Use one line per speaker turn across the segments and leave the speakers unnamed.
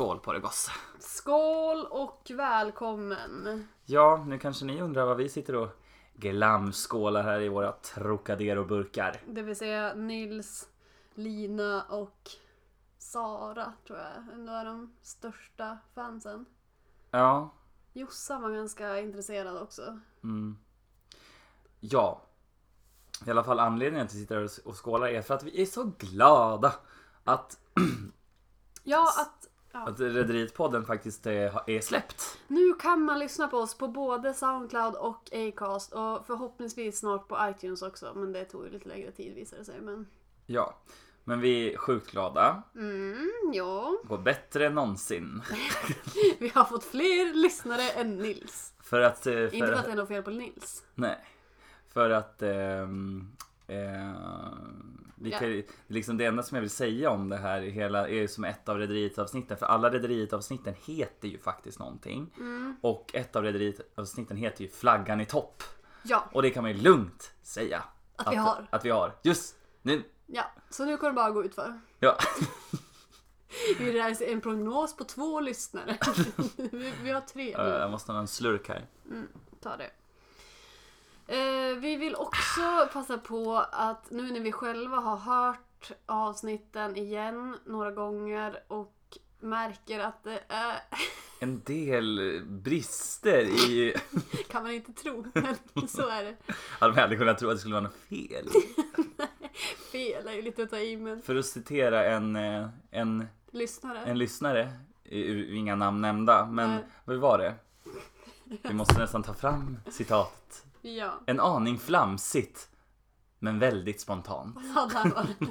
oss.
Skål och välkommen!
Ja, nu kanske ni undrar vad vi sitter och glamskålar här i våra Trocadero-burkar.
Det vill säga Nils, Lina och Sara tror jag ändå är de största fansen.
Ja,
Jossan var ganska intresserad också.
ja. I alla fall anledningen till att vi sitter här och skålar är för att vi är så glada att,
Ja, att ja.
att Rederiet-podden faktiskt eh, är, är släppt.
nu kan man lyssna på oss på både Soundcloud och Acast och förhoppningsvis snart på iTunes också. Men det tog ju lite längre tid visade det sig. Men
Ja, men vi är sjukt glada.
mm, ja,
Går bättre än någonsin.
vi har fått fler lyssnare än Nils.
För att... eh, För,
Inte för att det är något fel på Nils.
Nej. För att... ehm, ehm, vi
Ja.
kan, ju- liksom det enda som jag vill säga om det här i hela, är ju som ett av rederietavsnitten. För alla rederietavsnitten heter ju faktiskt någonting.
Mm.
Och ett av rederietavsnitten heter ju Flaggan i topp.
Ja,
Och det kan man ju lugnt säga. Att,
vi har.
Att vi har. Just nu.
ja, så nu kommer det bara gå ut för.
Ja.
Vi läser alltså en prognos på två lyssnare. vi, vi har tre
Eh,
nu.
jag måste ha en slurk här.
Ta det. Eh, vi vill också passa på att nu när vi själva har hört avsnitten igen några gånger och märker att det är,
En del brister i...
kan man inte tro, men så är det.
Hade man aldrig kunnat tro att det skulle vara något fel.
Fel är ju lite att ta i, men
För att citera en, eh, en
lyssnare.
en lyssnare, i- inga namn nämnda, men
Nej.
vad var det? Vi måste nästan ta fram citatet.
Ja,
En aning flamsigt, men väldigt spontant.
ja där var det.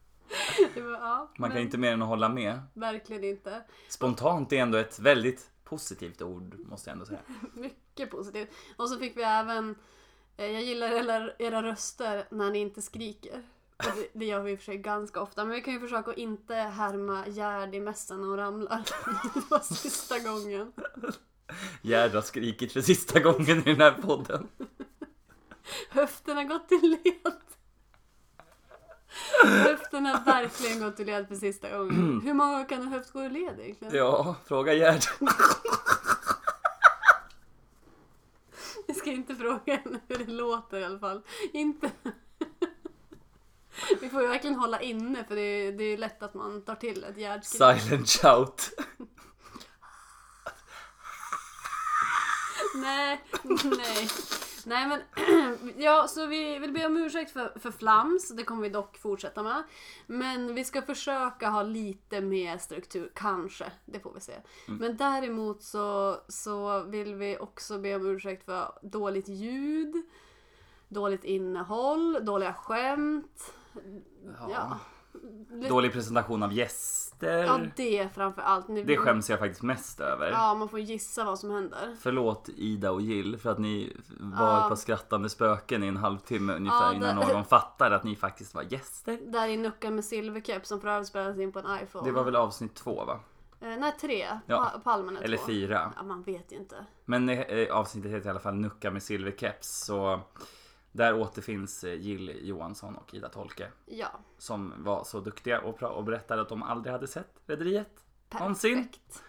det var, ja,
Man kan
men
inte mer än att hålla med.
Verkligen inte.
Spontant är ändå ett väldigt positivt ord, måste jag ändå säga.
Mycket positivt. Och så fick vi även eh, Jag gillar era, era röster när ni inte skriker. Och det, det gör vi i och för sig ganska ofta. Men vi kan ju försöka att inte härma Gerd i mässan när hon ramlar. det var sista gången.
Gerd har skrikit för sista gången i den här podden.
Höften har gått i led. Höften har verkligen gått i led för sista gången. Hur många kan en höft gå i led egentligen?
Ja, fråga Gerd.
Jag ska inte fråga henne hur det låter i alla fall. Inte. Vi får ju verkligen hålla inne för det är, det är ju lätt att man tar till ett hjärtskrik.
Silent shout.
Nej, nej. Nej men, ja så vi vill be om ursäkt för, för flams, det kommer vi dock fortsätta med. Men vi ska försöka ha lite mer struktur, kanske. Det får vi se. Men däremot så, så vill vi också be om ursäkt för dåligt ljud, dåligt innehåll, dåliga skämt. Ja. Det-
Dålig presentation av
Ja,
gäster.
det framför allt. Ni-
Det skäms jag faktiskt mest över.
Ja, man får gissa vad som händer.
Förlåt Ida och Jill för att ni var
Ja.
ett par skrattande spöken i en halvtimme ungefär
Ja, det-
innan någon fattade att ni faktiskt var gäster.
Där i nuckan med silverkeps som för övrigt spelades in på en iPhone.
Det var väl avsnitt två va?
Eh, nej, tre.
Ja.
Pa- Palmen är
Eller
två.
fyra.
Ja, man vet ju inte.
Men eh, avsnittet heter i alla fall Nucka med silverkeps så där återfinns eh, Jill Johansson och Ida Tolke
Ja,
som var så duktiga och, pra- och berättade att de aldrig hade sett Rederiet. Någonsin.
perfekt.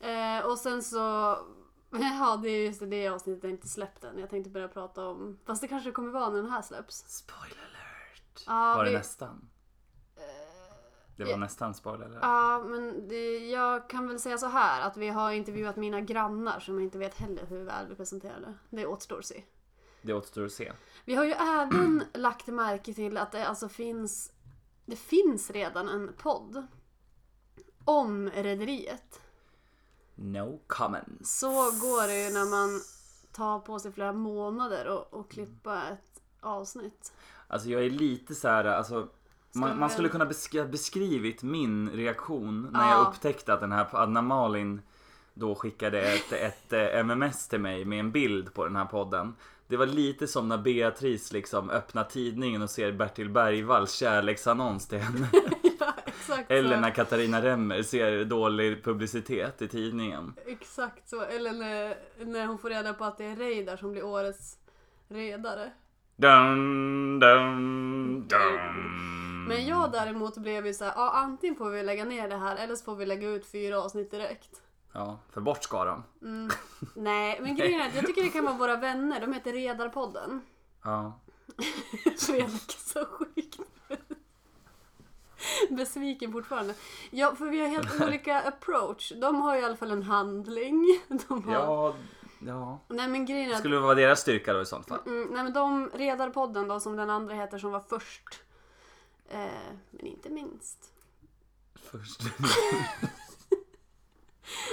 Eh, och sen så... Ja, det är just det, det avsnittet jag inte släppt än. Jag tänkte börja prata om... Fast det kanske kommer vara när den här släpps.
Spoiler alert.
Ja,
var det
vi- Eh,
nästan? Det var
ja.
nästan spoiler alert.
Ja, men det, jag kan väl säga så här att vi har intervjuat mina grannar som jag inte vet heller hur väl vi presenterade. Det återstår att se.
Det återstår att se.
Vi har ju även lagt märke till att det alltså finns Det finns redan en podd om Rederiet.
No comments.
Så går det ju när man tar på sig flera månader och, och klippa ett avsnitt.
Alltså jag är lite så här, alltså man,
vi
man
väl-
skulle kunna besk- beskrivit min reaktion när
Ja.
jag upptäckte att den här, att när Malin då skickade ett, ett eh, MMS till mig med en bild på den här podden. Det var lite som när Beatrice liksom öppnar tidningen och ser Bertil Bergvalls kärleksannons till henne.
ja, exakt så.
Eller när Katarina Remmer ser dålig publicitet i tidningen.
Exakt så. Eller när, när hon får reda på att det är Reidar som blir årets redare.
Dun, dun, dun.
Men jag däremot blev ju såhär, ja antingen får vi lägga ner det här eller så får vi lägga ut fyra avsnitt direkt.
Ja, för bort ska de.
Nej, men grejen är att jag tycker det kan vara våra vänner, de heter Redarpodden.
Ja.
Fredrik är så sjukt besviken fortfarande. Ja, för vi har helt olika approach. De har i alla fall en handling. De har...
Ja, ja.
Nej men grejen är att
Skulle det vara deras styrka då i sånt fall?
Mm, nej men de, Redarpodden då som den andra heter som var först. Eh, men inte minst.
Först.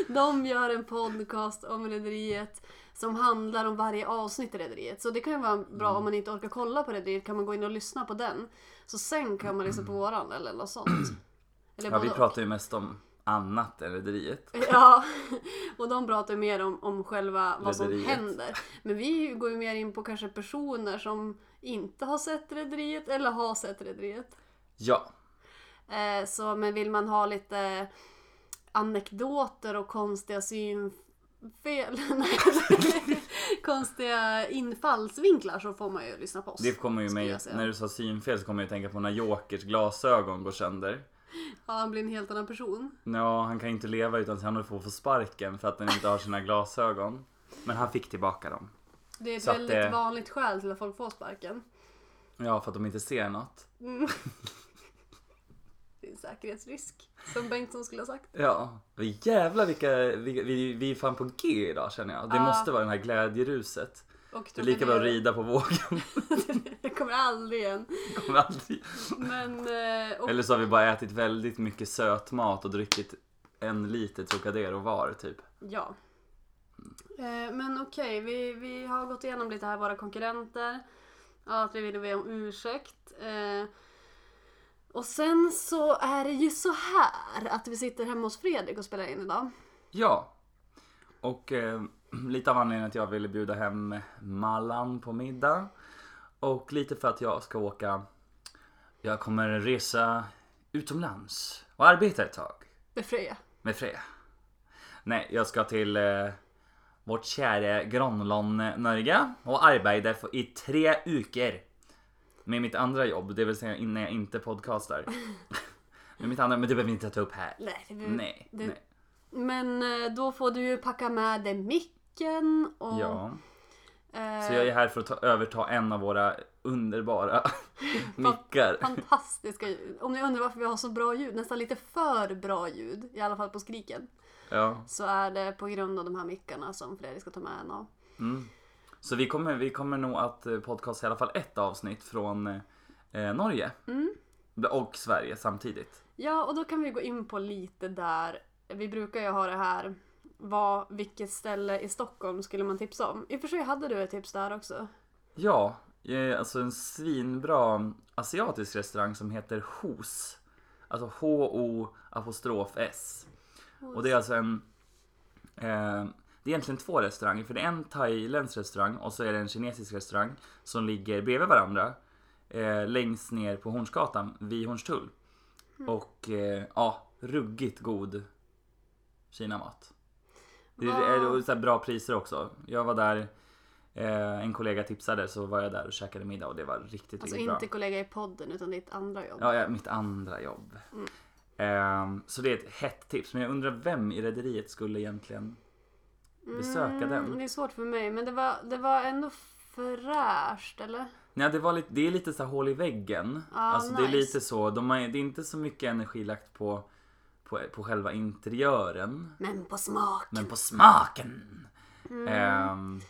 De gör en podcast om Rederiet som handlar om varje avsnitt i Rederiet. Så det kan ju vara bra
Mm.
om man inte orkar kolla på Rederiet kan man gå in och lyssna på den. Så sen kan man lyssna på våran eller något sånt. Eller
Mm. Ja, vi
både och.
pratar ju mest om annat än rederiet.
Ja, och de pratar ju mer om, om själva vad som
Rederiet.
händer. Men vi går ju mer in på kanske personer som inte har sett Rederiet eller har sett Rederiet.
Ja,
Eh, så, men vill man ha lite anekdoter och konstiga synfel, nej, konstiga infallsvinklar så får man ju lyssna på oss.
det kommer ju
skulle
mig,
jag säga.
när du sa synfel så kommer jag att tänka på när Jokers glasögon går sönder.
Ja, han blir en helt annan person.
Ja, han kan ju inte leva utan att han får få sparken för att han inte har sina glasögon. Men han fick tillbaka dem.
Det är ett
Så att
väldigt
det-
vanligt skäl till att folk får sparken. Mm.
Ja, för att de inte ser något.
Det är en säkerhetsrisk, som Bengtsson skulle ha sagt.
Ja, vi jävlar vilka, vi, vi, vi är fan på G idag känner jag. Det
Ja.
måste vara den här glädjeruset.
Och
Det är lika bra att
turbulens.
rida på vågen.
Det kommer aldrig igen.
Kommer aldrig-
Men, eh, och,
Eller så har vi bara ätit väldigt mycket söt mat och druckit en liter Trocadero var typ.
ja. Eh, men okej, vi, vi har gått igenom lite här våra konkurrenter. Ja, att vi ville be om ursäkt. Eh, och sen så är det ju så här att vi sitter hemma hos Fredrik och spelar in idag.
Ja. Och eh, lite av anledningen att jag ville bjuda hem Mallan på middag. Och lite för att jag ska åka. Jag kommer resa utomlands och arbeta ett tag
Befria.
med Freja. Nej, jag ska till eh, vårt kära grannland eh, Norge och arbeta för, i tre veckor. Med mitt andra jobb, det vill säga innan jag inte podcastar. med mitt andra, men det behöver vi inte ta upp här.
Nej, det blir-
Nej,
det-
nej.
Men eh, då får du ju packa med dig micken och...
Ja.
eh,
Så jag är här för att ta, överta en av våra underbara mickar.
Fantastiska ljud. Om ni undrar varför vi har så bra ljud, nästan lite för bra ljud, i alla fall på skriken.
Ja.
så är det på grund av de här mickarna som Fredrik ska ta med en av.
Så vi kommer, vi kommer nog att eh, podcasta i alla fall ett avsnitt från eh, Norge. Och Sverige samtidigt.
Ja, och då kan vi gå in på lite där. Vi brukar ju ha det här, vad, vilket ställe i Stockholm skulle man tipsa om? I och för sig hade du ett tips där också.
Ja, eh, alltså en svinbra asiatisk restaurang som heter Hos. Alltså H-O apostrof S. Och det är alltså en... Eh, det är egentligen två restauranger, för det är en thailändsk restaurang och så är det en kinesisk restaurang som ligger bredvid varandra. Eh, längst ner på Hornsgatan vid Hornstull. Och eh, ja, ruggigt god Kinamat. Det är,
Vad-
och så här bra priser också. Jag var där, eh, en kollega tipsade så var jag där och käkade middag och det var riktigt,
Alltså
riktigt bra.
inte kollega i podden utan ditt andra jobb.
Ja, ja, mitt andra jobb.
Mm.
Ehm, så det är ett hett tips. Men jag undrar vem i rederiet skulle egentligen besöka
Mm,
den?
det är svårt för mig, men det var, det var ändå fräscht, eller?
Nej, det, var lite, det är lite så här hål i väggen. alltså det är
nice.
lite så. De har, det är inte så mycket energi lagt på, på, på själva interiören.
Men på smak!
Men på smaken!
Mm.
Ehm,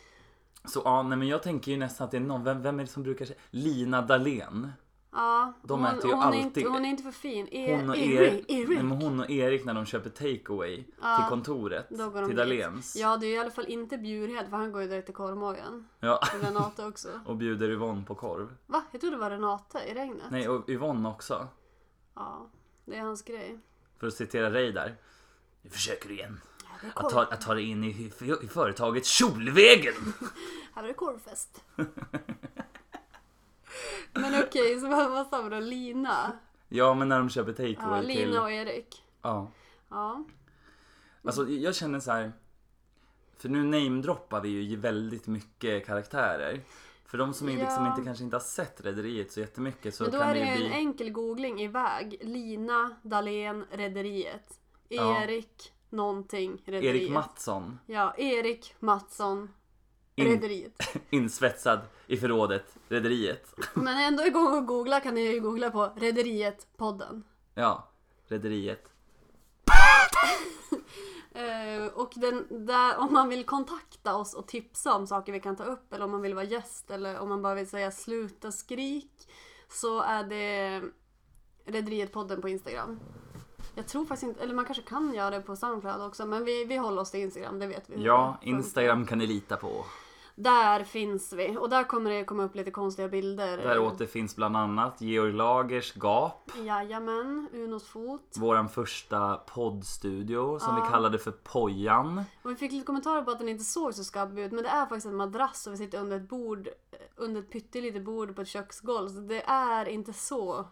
så ja, nej, men jag tänker ju nästan att det är någon, vem, vem är det som brukar säga? Lina Dahlén.
Ja,
De
hon,
äter ju
hon Är
alltid-
inte, hon är inte för fin. E-
Hon och,
Erik,
Erik,
Erik.
nej, men hon och Erik när de köper takeaway till kontoret,
Då går de
till
dit.
Dahléns.
Ja, det är i alla fall inte Bjurhed för han går ju direkt till korvmojen.
Ja.
Och Renate också.
Och bjuder Yvonne på korv.
Va? Jag trodde det var Renate i regnet.
Nej, och Yvonne också.
Ja, det är hans grej.
För att citera dig där. Nu försöker du igen.
Här är,
Att
korv.
ta, att ta dig in i, i företaget Kjolvägen!
Här är korvfest. Men okej, så vad vad sa vi då? Lina?
Ja, men när de köper
Ja,
takeaway till...
Lina och Erik.
Ja.
Ja.
Alltså, jag känner så här. För nu namedroppar vi ju väldigt mycket karaktärer. För de som är liksom
Ja.
inte, kanske inte har sett Rederiet så jättemycket så
Men då
kan
är
det
det
ju
en
bli...
enkel googling iväg. Lina Dahlén Rederiet.
Ja.
Erik någonting Rederiet.
Erik Mattsson
Ja, Erik Mattsson
In-
Rederiet.
insvetsad i förrådet Rederiet.
Men ändå igång och googla kan ni ju googla på Rederiet-podden.
Ja, Rederiet.
Eh, och den där, om man vill kontakta oss och tipsa om saker vi kan ta upp eller om man vill vara gäst eller om man bara vill säga sluta skrik så är det Rederiet-podden på Instagram. Jag tror faktiskt inte, eller man kanske kan göra det på Soundcloud också men vi, vi håller oss till Instagram, det vet vi. hur
Ja,
det funkar.
Instagram kan ni lita på.
Där finns vi och där kommer det komma upp lite konstiga bilder.
Där återfinns bland annat Georg Lagers Gap,
Jajamän, Unos fot.
våran första poddstudio som
Ja.
vi kallade för Pojan.
Och vi fick lite kommentarer på att den inte såg så skabbig ut men det är faktiskt en madrass och vi sitter under ett bord, eh, under ett pyttelitet bord på ett köksgolv så det är inte så.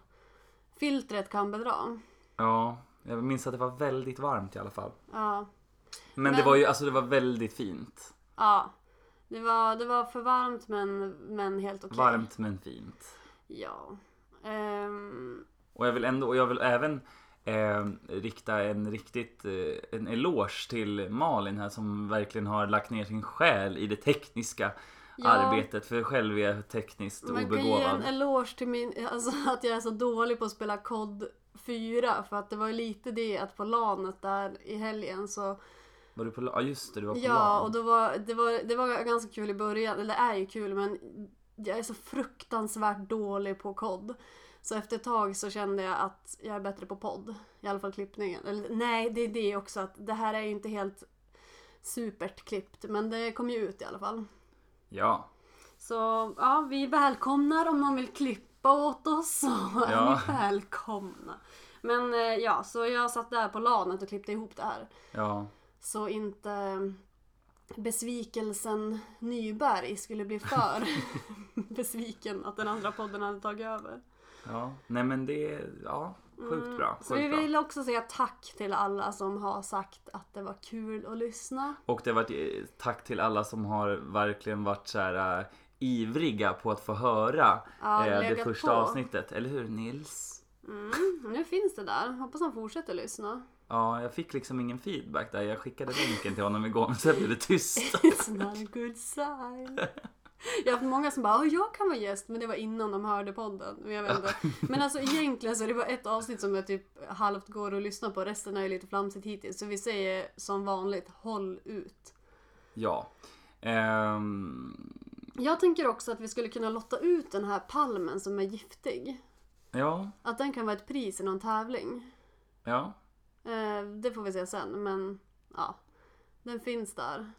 Filtret kan bedra.
Ja, jag minns att det var väldigt varmt i alla fall.
Ja.
Men, det
Men-
var ju, alltså det var väldigt fint.
ja. Det var, det var för varmt men, men helt okej.
Varmt men fint.
Ja. Ehm,
Och jag vill ändå, och jag vill även eh, rikta en riktigt eh, en eloge till Malin här som verkligen har lagt ner sin själ i det tekniska
Ja.
arbetet. För själv är jag tekniskt
man kan ge en
obegåvad.
eloge till min, alltså att jag är så dålig på att spela kod 4 för att det var ju lite det att på LANet där i helgen så
Var du på la- Ja just det, du var på
Ja,
LAN.
och då var, det, var, det var ganska kul i början, eller det är ju kul men jag är så fruktansvärt dålig på kod. Så efter ett tag så kände jag att jag är bättre på podd. I alla fall klippningen. Eller, nej, det är det också att det här är ju inte helt supert klippt men det kom ju ut i alla fall.
Ja.
Så ja, vi välkomnar om någon vill klippa åt oss så är
Ja.
ni välkomna. Men eh, ja, så jag satt där på lanet och klippte ihop det här.
Ja.
Så inte besvikelsen Nyberg skulle bli för besviken att den andra podden hade tagit över.
Ja. Nej men det är, ja. Sjukt bra.
Mm, Så vi
sjukt bra.
vill också säga tack till alla som har sagt att det var kul att lyssna.
Och det har varit eh, tack till alla som har verkligen varit så här eh, ivriga på att få höra
Ja,
eh, det
legat
första
på.
avsnittet. Eller hur Nils?
Mm, nu finns det där. Hoppas han fortsätter lyssna.
Ja, jag fick liksom ingen feedback där. Jag skickade länken till honom igår men sen blev det tyst.
It's not a good sign. Jag har haft många som bara "Åh, jag kan vara gäst men det var innan de hörde podden. Men, jag vet inte. men alltså egentligen så är det bara ett avsnitt som jag typ halvt går och lyssnar på. Resten är ju lite flamsigt hittills. Så vi säger som vanligt håll ut.
Ja. Ehm,
Jag tänker också att vi skulle kunna lotta ut den här palmen som är giftig.
ja,
Att den kan vara ett pris i någon tävling.
ja.
Eh, det får vi se sen men ja. Den finns där.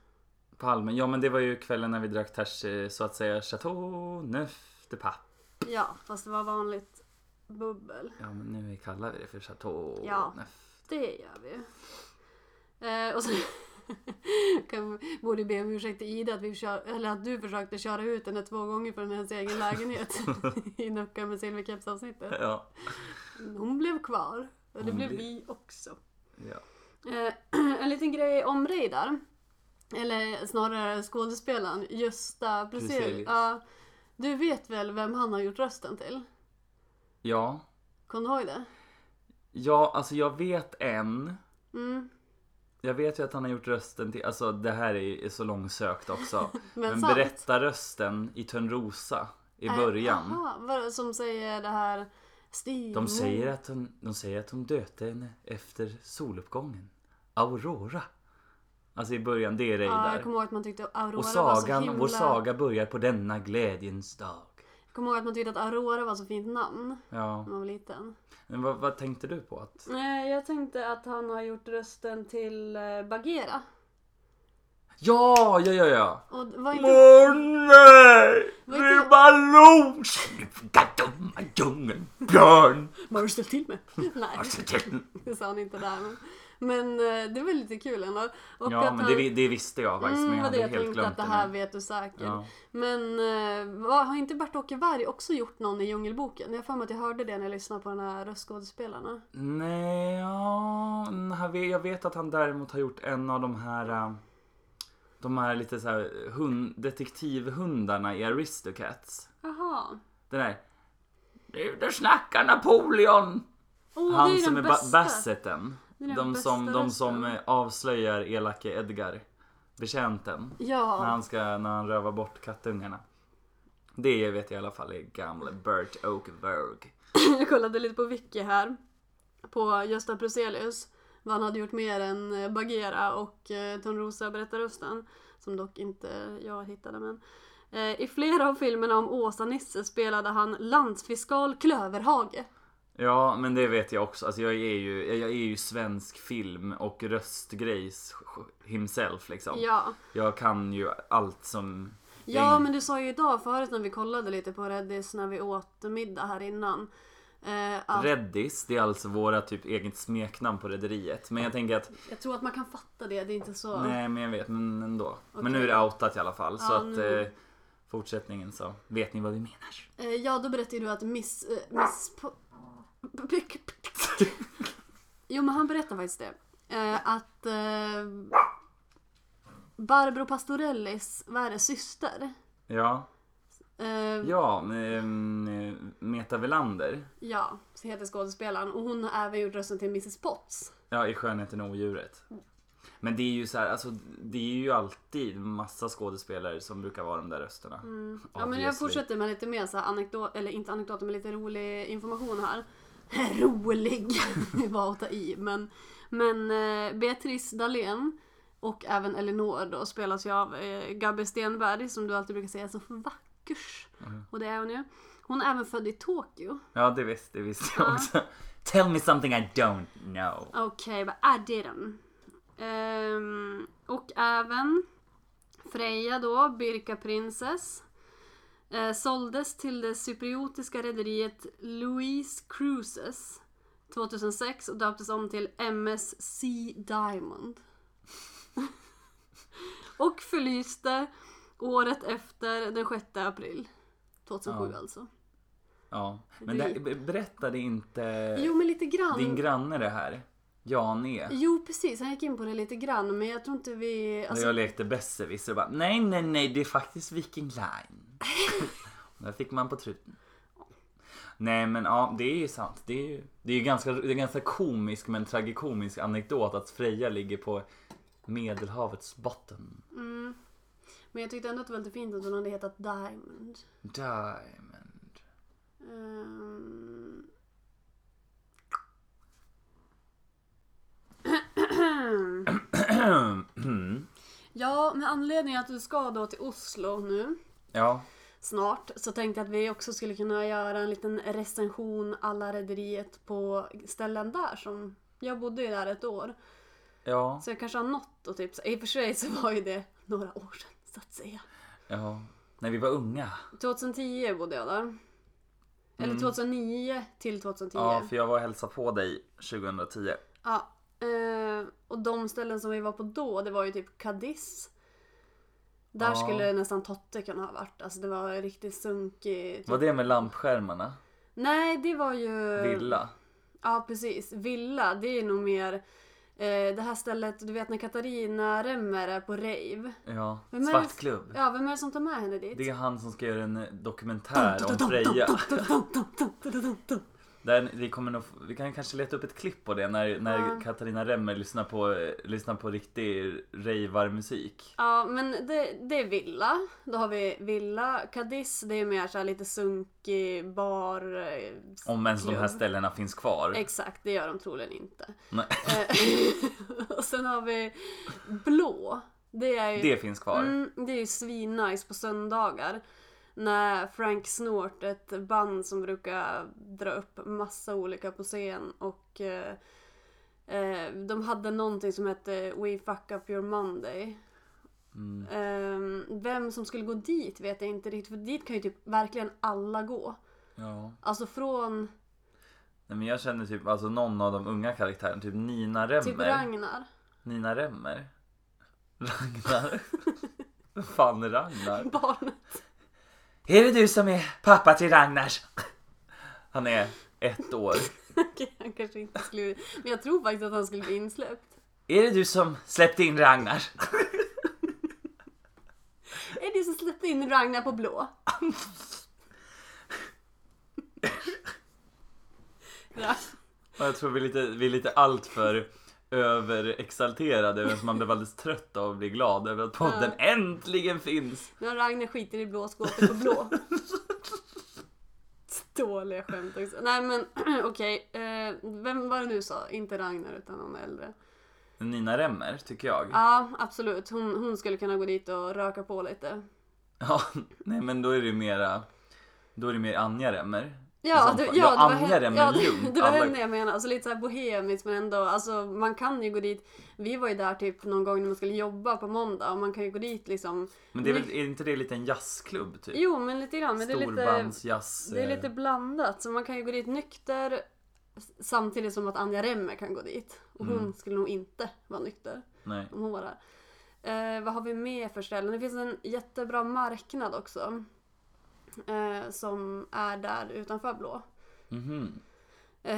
Palmen. Ja, men det var ju kvällen när vi drack ters eh, så att säga Chateau Neuf de Pape.
Ja fast det var vanligt bubbel.
Ja, men nu kallar vi det för Chateau
Ja.
Neuf.
Det gör vi. Eh, och så kan, borde be om ursäkt till Ida att, vi kör, eller att du försökte köra ut henne två gånger från hennes egen lägenhet i Nocka med silverkeps avsnittet.
Ja.
Hon blev kvar. Och det
Hon
blev
blev-
vi också.
ja.
Eh, en liten grej om dig där. Eller snarare skådespelaren Gösta Bruzelius.
Bruzelius.
Ja, du vet väl vem han har gjort rösten till?
Ja.
Kom du ihåg det?
Ja, alltså jag vet en.
Mm.
Jag vet ju att han har gjort rösten till, alltså det här är, är så långsökt också.
Men
men
sant.
berättarrösten i Törnrosa i början.
Eh, aha, vad- som säger det här Stig
De säger att hon, de säger att hon döpte henne efter soluppgången. Aurora. Alltså i början, det är dig
Ja, jag
där.
kommer ihåg att man tyckte Aurora
Och
var så
sagan,
himla...
vår saga börjar på denna glädjens dag.
Jag kommer ihåg att man tyckte att Aurora var så fint namn
Ja,
när man var liten.
men vad, vad tänkte du på att?
Nej, jag tänkte att han har gjort rösten till eh, Bagheera.
Ja, ja, ja, ja!
Och var inte...
Åh nej!
Vad heter-
Ribbaloo! Sniffa dumma djungeln, björn!
Vad har du ställt till med? Nej,
Alltså.
det sa han inte där. Men, men eh, det var lite kul ändå. Och
Ja,
att
men
han...
det, vi- det visste jag faktiskt, men
Mm,
jag
vad det
hade
jag
helt
tänkte att
glömt
det
det.
här
nu.
vet du säkert.
Ja.
Men eh, vad- har inte Bert-Åke Varg också gjort någon i Djungelboken? Jag har för mig att jag hörde det när jag lyssnade på den här röstskådespelarna.
Nej, ja, han vet- jag vet att han däremot har gjort en av de här... äh, de här lite så här hund, detektivhundarna i Aristocats.
Jaha.
Den där. Nu då snackar Napoleon!
Åh, det
Han
ju
som är
den
ba-
bästa.
Basseten.
Det är den
De
bästa
som, de som
rösten.
eh, avslöjar elake Edgar. Betjänten.
Ja.
När han, ska, när han rövar bort kattungarna. Det vet jag i alla fall är gamle Bert Oakberg.
Jag kollade lite på Wiki här. På Gösta Bruzelius. Vad han hade gjort mer än eh, Bagheera och eh, Törnrosa berättarrösten. Som dock inte jag hittade men. Eh, I flera av filmerna om Åsa-Nisse spelade han landsfiskal Klöverhage.
Ja, men det vet jag också. Alltså, jag, är ju, jag är ju svensk film och röstgrejs himself liksom.
Ja.
Jag kan ju allt som...
Ja
Ing-
men du sa ju idag förut när vi kollade lite på Reddis när vi åt middag här innan. Eh, att
Reddis, det är alltså våra typ eget smeknamn på rederiet. Men jag tänker att,
jag tror att man kan fatta det, det är inte så.
nej men jag vet, men ändå.
Okej.
Men nu är det outat i alla fall. så
Ja,
att
nu-
eh, fortsättningen så, vet ni vad vi menar?
Eh, ja, då berättade du att Miss... Eh, miss po- jo, men han berättade faktiskt det. Eh, att eh, Barbro Pastorellis, vad är det, syster?
Ja,
Eh, ja.
ja, ehm, Meta Velander.
så heter skådespelaren. Och hon har även gjort rösten till Mrs Potts.
Ja, i Skönheten och odjuret.
Mm.
Men det är ju så här, alltså det är ju alltid massa skådespelare som brukar vara de där rösterna.
Mm. Ja, men jag
Obviously.
fortsätter med lite mer så här anekdot, eller inte anekdoter, men lite rolig information här. Rolig var att ta i, men, men eh, Beatrice Dahlén och även Elinor då spelas ju av eh, Gabby Stenberg som du alltid brukar säga är så vackers. Och det är hon ju. Hon är även född i Tokyo.
Ja, det visste, det visste jag
Ja.
också. Tell me something I don't know.
Okej, but I didn't. Ehm, och även Freja då, Birka Princess. eh, såldes till det cypriotiska rederiet Louise Cruises 2006 och döptes om till MSC Diamond. och förlyste året efter den 6 april. 2007
Ja.
alltså.
Ja, men
Det-
det, be- berättade inte
Jo men lite grann.
din granne det här? Jan E.
Jo precis, han gick in på det lite grann men jag tror inte vi...
När
Alltså,
jag lekte besserwisser och bara nej, nej, nej, det är faktiskt Viking Line. Och Där fick man på truten. Nej men ja, det är ju sant. Det är ju det är ju ganska, det är ganska komisk men tragikomisk anekdot att Freja ligger på Medelhavets botten.
Mm. Men jag tyckte ändå att det var lite fint att hon hade hetat Diamond.
Diamond.
Ehm. ja, med anledning att du ska då till Oslo nu
Ja,
snart så tänkte jag att vi också skulle kunna göra en liten recension alla rederiet på ställen där som jag bodde ju där ett år.
ja,
Så jag kanske har något och typ, i och för sig så var ju det några år sedan så att säga.
ja. När vi var unga.
2010 bodde jag där. Eller 2009 till 2010.
Ja, för jag var och hälsade på dig 2010.
Ja, eh, och de ställen som vi var på då, det var ju typ Cadiz. Där
Ja.
skulle nästan Totte kunna ha varit. Alltså det var riktigt sunkig. Typ.
Var det med lampskärmarna?
Nej, det var ju...
Villa?
Ja, precis. Villa, det är nog mer eh, det här stället, du vet när Katarina Remmer är på rave.
Ja.
Vem är det-
Svartklubb?
Ja, vem är det som tar med henne dit?
Det är han som ska göra en eh, dokumentär om Freja. Där vi, kommer nog, vi kan kanske leta upp ett klipp på det när, när
Ja.
Katarina Remmer lyssnar på, eh, lyssnar på riktig rejvarmusik.
Ja, men det, det är villa. Då har vi villa. Cadiz, det är mer så här lite sunkig bar. eh,
Om ens de här
klubb.
ställena finns kvar.
Exakt, det gör de troligen inte.
Nej,
Eh, och sen har vi blå. Det är ju,
det finns kvar.
mm, det är ju svinnice på söndagar. När Frank Snort, ett band som brukar dra upp massa olika på scen och eh, eh, de hade någonting som hette We Fuck Up Your Monday.
Mm.
Ehm, vem som skulle gå dit vet jag inte riktigt för dit kan ju typ verkligen alla gå.
Ja.
Alltså från
Nej, men jag känner typ alltså någon av de unga karaktärerna, typ Nina Remmer.
typ Ragnar.
Nina Remmer? Ragnar? Vem fan är Ragnar?
Barnet.
Är det du som är pappa till Ragnars? Han är ett år.
Okej, han kanske inte skulle... Men jag tror faktiskt att han skulle bli insläppt.
Är det du som släppte in Ragnar?
Sätt in Ragnar på blå. Ragnar.
Och jag tror vi är lite, vi är lite allt för överexalterade men man blev alldeles trött av och blir glad över att podden äntligen finns.
När Ragnar skiter i blå skåpet på blå. Dåliga skämt också. Nej men okej. Eh, vem var det du sa? Inte Ragnar utan någon äldre.
Nina Remmer tycker jag.
Ja absolut. Hon, hon skulle kunna gå dit och röka på lite.
Ja, nej men då är det ju mera, då är det mer Anja Remmer.
Ja,
Som
det,
fan.
ja,
Liksom, Jag använder
det var, hen-
den med
ja, det,
lugn.
det var
Alla-
henne jag menade. Alltså lite såhär bohemiskt men ändå, alltså man kan ju gå dit. Vi var ju där typ någon gång när man skulle jobba på måndag och man kan ju gå dit liksom.
Men det är, väl, är inte det en liten jazzklubb typ?
Jo men lite grann, men det är lite,
Storbandsjazz.
det är
eh,
lite blandat. Så man kan ju gå dit nykter s- samtidigt som att Anja Remmer kan gå dit. Och hon
Mm.
skulle nog inte vara nykter
Nej.
om hon var där. Eh, vad har vi mer för ställen? Det finns en jättebra marknad också. Eh, som är där utanför Blå.
Mhm.
Eh,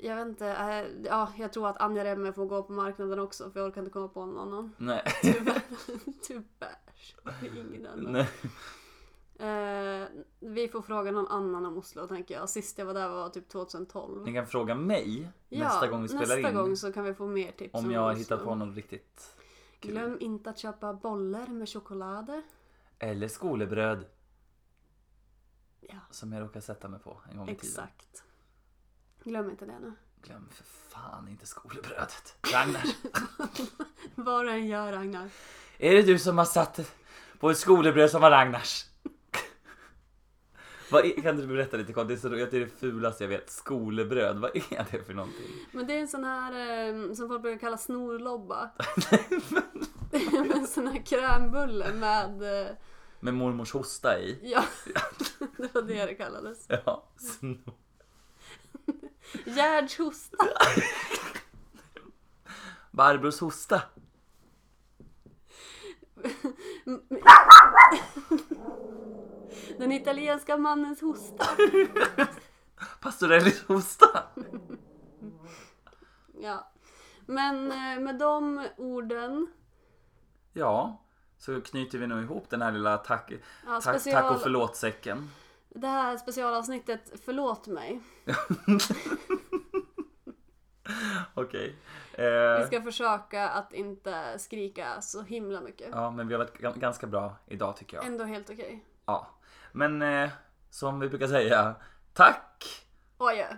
jag vet inte. eh, ja, jag tror att Anja Remmer får gå på marknaden också för jag orkar inte komma på någon annan.
Nej.
Tyvärr. Tyvärr. Det är Ingen annan.
Nej.
Eh, vi får fråga någon annan om Oslo tänker jag. Sist jag var där var typ 2012.
Ni kan fråga mig nästa gång vi spelar
nästa
in.
gång så kan vi få mer tips
Om jag har
Oslo.
hittat på något riktigt kul.
Glöm inte att köpa bollar med choklad.
Eller skolebröd.
Ja.
Som jag råkade sätta mig på en gång i tiden.
Exakt. Glöm inte det nu.
Glöm för fan inte skolebrödet. Ragnar,
Vad du än gör Ragnar.
är det du som har satt på ett skolebröd som var Ragnars? Vad är, kan du berätta lite kort? Det är, så, roligt, det är det fulaste jag vet. Skolebröd, vad är det för någonting?
Men det är en sån här eh, som folk brukar kalla snorlobba. en sån här krämbulle med, eh,
Med mormors hosta i?
ja, det var det det kallades.
Ja, snor.
Gerds hosta.
Barbros hosta.
Den italienska mannens hosta.
Pastorellis hosta.
Ja. Men eh, med de orden,
Ja, så knyter vi nog ihop den här lilla tack,
ja,
tack, tack och
special,
förlåt-säcken.
det här specialavsnittet Förlåt mig.
Okej.
Vi
Eh,
ska försöka att inte skrika så himla mycket.
ja, men vi har varit ga- ganska bra idag tycker jag.
Ändå helt okej.
Ja. Men eh, som vi brukar säga, tack
Oj, ja.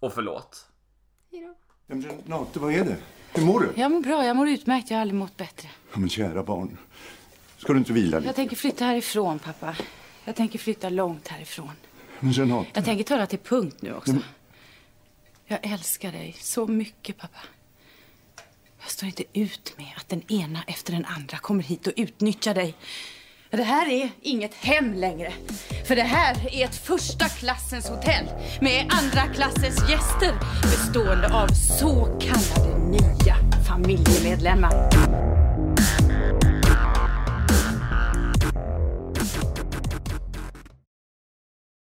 och förlåt.
hejdå.
Ja, men Renate, vad är det? Hur mår du?
Jag mår bra, jag mår utmärkt. Jag har aldrig mått bättre.
Ja, men kära barn, ska du inte vila
Jag
lite?
tänker flytta härifrån, pappa. Jag tänker flytta långt härifrån.
Men Renate,
Jag tänker ta det till punkt nu också. Jag älskar dig så mycket, pappa. Jag står inte ut med att den ena efter den andra kommer hit och utnyttjar dig. Det här är inget hem längre. För det här är ett första klassens hotell med andra klassens gäster bestående av så kallade nya familjemedlemmar.